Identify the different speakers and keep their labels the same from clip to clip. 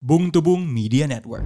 Speaker 1: Bung Tubung Media Network.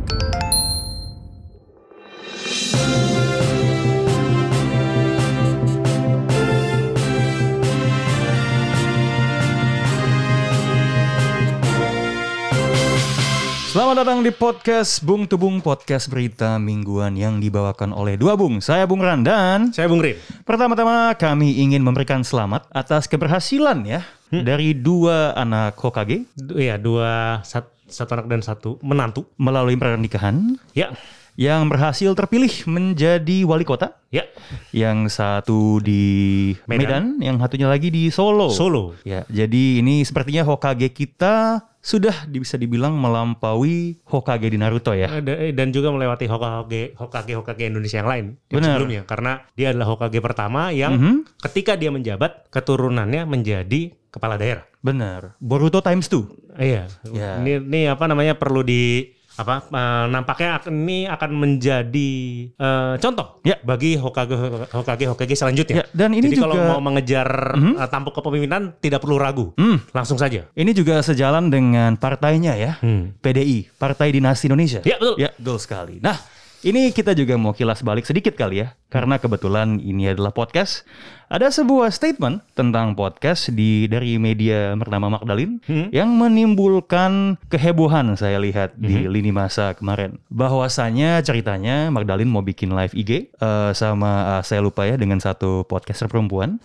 Speaker 1: Selamat datang di podcast Bung Tubung Podcast Berita Mingguan yang dibawakan oleh dua bung. Saya Bung Randan.
Speaker 2: Saya Bung Rin.
Speaker 1: Pertama-tama kami ingin memberikan selamat atas keberhasilan ya dari dua anak Hokage
Speaker 2: Du- ya dua sat- satu anak dan satu menantu.
Speaker 1: melalui pernikahan
Speaker 2: Ya,
Speaker 1: yang berhasil terpilih menjadi wali kota.
Speaker 2: ya
Speaker 1: Yang satu di Medan,
Speaker 2: Medan.
Speaker 1: yang satunya lagi di
Speaker 2: Oh.
Speaker 1: Solo.
Speaker 2: Solo.
Speaker 1: Ya, jadi ini sepertinya Hokage kita sudah di- bisa dibilang melampaui Hokage di Naruto ya.
Speaker 2: Eh, da- eh, Dan juga melewati Hokage Hokage Hokage Indonesia yang lain yang
Speaker 1: Benar.
Speaker 2: sebelumnya karena dia adalah Hokage pertama yang
Speaker 1: Mhm.
Speaker 2: ketika dia menjabat keturunannya menjadi kepala daerah.
Speaker 1: Benar. Boruto times 2.
Speaker 2: Eh, Iya.
Speaker 1: Ya.
Speaker 2: Ini ini apa namanya perlu di apa eh, nampaknya ak- ini akan menjadi eh, contoh
Speaker 1: Ya.
Speaker 2: bagi Hokage Hokage Hokage selanjutnya.
Speaker 1: Ya, dan ini
Speaker 2: Jadi kalau
Speaker 1: juga-
Speaker 2: mau mengejar eh, tampuk kepemimpinan tidak perlu ragu.
Speaker 1: Hmm.
Speaker 2: Langsung saja.
Speaker 1: Ini juga sejalan dengan partainya ya.
Speaker 2: Hmm.
Speaker 1: PDI, Partai Dinasti Indonesia.
Speaker 2: Ya, betul.
Speaker 1: Ya, betul sekali. Nah, ini kita juga mau kilas balik sedikit kali ya. Karena kebetulan ini adalah podcast. Ada sebuah statement tentang podcast di dari media pertama Magdalene yang menimbulkan kehebohan saya lihat di lini masa kemarin. Bahwasanya ceritanya Magdalene mau bikin live IG eh, sama eh, saya lupa ya dengan satu podcaster perempuan.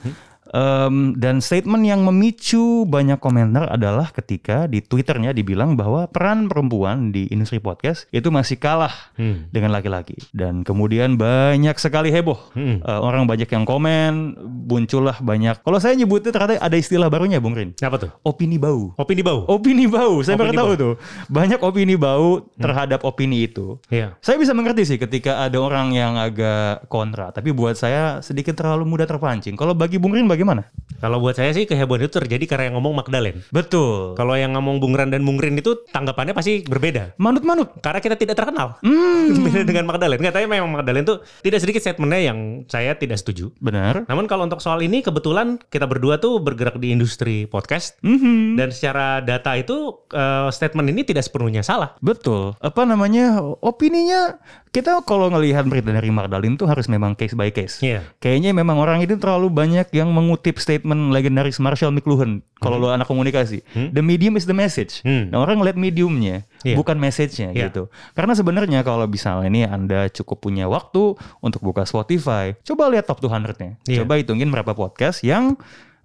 Speaker 1: Em, dan statement yang memicu banyak komentar adalah ketika di Twitternya dibilang bahwa peran perempuan di industri podcast itu masih kalah
Speaker 2: Hmm.
Speaker 1: dengan laki-laki. Dan kemudian banyak sekali heboh. Eh,
Speaker 2: Hmm.
Speaker 1: orang banyak yang komen, muncullah banyak. Kalau saya nyebutnya ternyata ada istilah barunya Bung Rin.
Speaker 2: Apa tuh?
Speaker 1: Opini bau.
Speaker 2: Opini bau.
Speaker 1: Opini bau, saya baru
Speaker 2: Opini Hmm.
Speaker 1: tahu tuh. Banyak opini bau terhadap opini itu.
Speaker 2: Iya.
Speaker 1: Saya bisa mengerti sih ketika ada orang yang agak kontra, tapi buat saya sedikit terlalu mudah terpancing. Kalau bagi Bung Rin bagaimana?
Speaker 2: Kalau buat saya sih kehebohan itu terjadi karena yang ngomong Magdalen.
Speaker 1: Betul.
Speaker 2: Kalau yang ngomong Bung Ran dan Bung Rin itu tanggapannya pasti berbeda.
Speaker 1: Manut-manut.
Speaker 2: Karena kita tidak terkenal. Beda dengan Magdalen. Katanya memang Magdalen tuh tidak sedikit statementnya yang saya tidak setuju.
Speaker 1: Benar.
Speaker 2: Namun kalau untuk soal ini kebetulan kita berdua tuh bergerak di industri podcast
Speaker 1: Mhm.
Speaker 2: dan secara data itu eh, statement ini tidak sepenuhnya salah.
Speaker 1: Betul. Apa namanya? Opininya kita kalau ngelihat berita dari Mardalin tuh harus memang case by case.
Speaker 2: Iya.
Speaker 1: Kayaknya memang orang itu terlalu banyak yang mengutip statement legendaris Marshall McLuhan kalau lo anak komunikasi. The medium is the message.
Speaker 2: Hmm.
Speaker 1: Nah, orang ngeliat mediumnya,
Speaker 2: Iya.
Speaker 1: bukan message-nya
Speaker 2: Iya.
Speaker 1: gitu. Karena sebenarnya kalau misalnya ini Anda cukup punya waktu untuk buka Spotify, coba lihat top 200-nya.
Speaker 2: Iya.
Speaker 1: Coba hitungin berapa podcast yang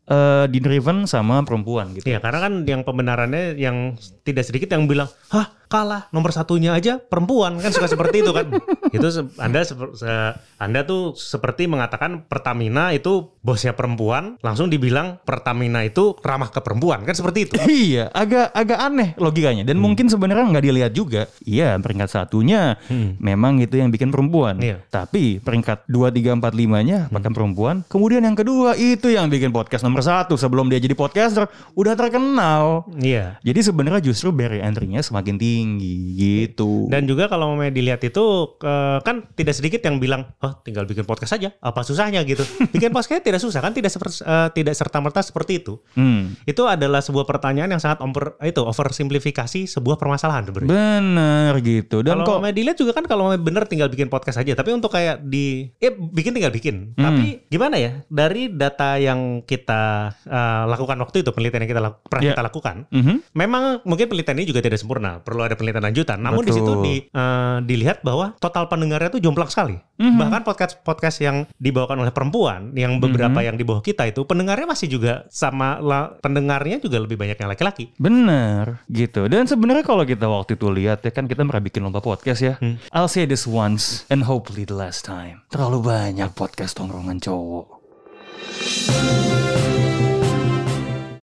Speaker 1: eh, di-driven sama perempuan gitu.
Speaker 2: Iya, karena kan yang pembenarannya yang tidak sedikit yang bilang, hah kalah nomor satunya aja perempuan kan suka seperti itu kan. Itu se- anda seper- se- anda tuh seperti mengatakan Pertamina itu bosnya perempuan, langsung dibilang Pertamina itu ramah ke perempuan kan seperti itu.
Speaker 1: Iya, agak agak aneh logikanya dan
Speaker 2: Hmm.
Speaker 1: mungkin sebenarnya nggak dilihat juga. Iya, peringkat satunya memang itu yang bikin perempuan.
Speaker 2: Hmm. Iya. Hmm.
Speaker 1: Tapi peringkat 2 3 4 5-nya bukan perempuan. Kemudian yang kedua itu yang bikin podcast nomor satu sebelum dia jadi podcaster udah terkenal.
Speaker 2: Iya.
Speaker 1: Jadi sebenarnya justru barrier entry-nya semakin tinggi gitu.
Speaker 2: Dan juga kalau mau dilihat itu eh, kan tidak sedikit yang bilang, oh tinggal bikin podcast saja, apa susahnya gitu. Bikin podcast tidak susah kan, tidak seper- eh, tidak serta merta seperti itu.
Speaker 1: Hmm.
Speaker 2: Itu adalah sebuah pertanyaan yang sangat over, itu oversimplifikasi sebuah permasalahan sebenarnya.
Speaker 1: Bener gitu. Dan kok
Speaker 2: Kalau media juga kan kalau bener tinggal bikin podcast aja. Tapi untuk kayak di, eh bikin tinggal bikin. Tapi gimana ya? Dari data yang kita eh, lakukan waktu itu penelitian yang kita laku- pernah
Speaker 1: Iya.
Speaker 2: kita lakukan,
Speaker 1: Mhm.
Speaker 2: memang mungkin penelitian ini juga tidak sempurna. Perlu ada penelitian lanjutan. Namun di situ
Speaker 1: Betul.
Speaker 2: di, eh, dilihat bahwa total pendengarnya itu jomplang sekali. Bahkan podcast podcast yang dibawakan oleh perempuan, yang beberapa yang di bawah kita itu pendengarnya masih juga sama la- pendengarnya juga lebih banyak yang laki-laki.
Speaker 1: Bener gitu. Dan sebenarnya kalau kita waktu itu lihat ya kan kita pernah bikin lomba podcast ya. I'll say this once and hopefully the last time. Terlalu banyak podcast tongkrongan cowok.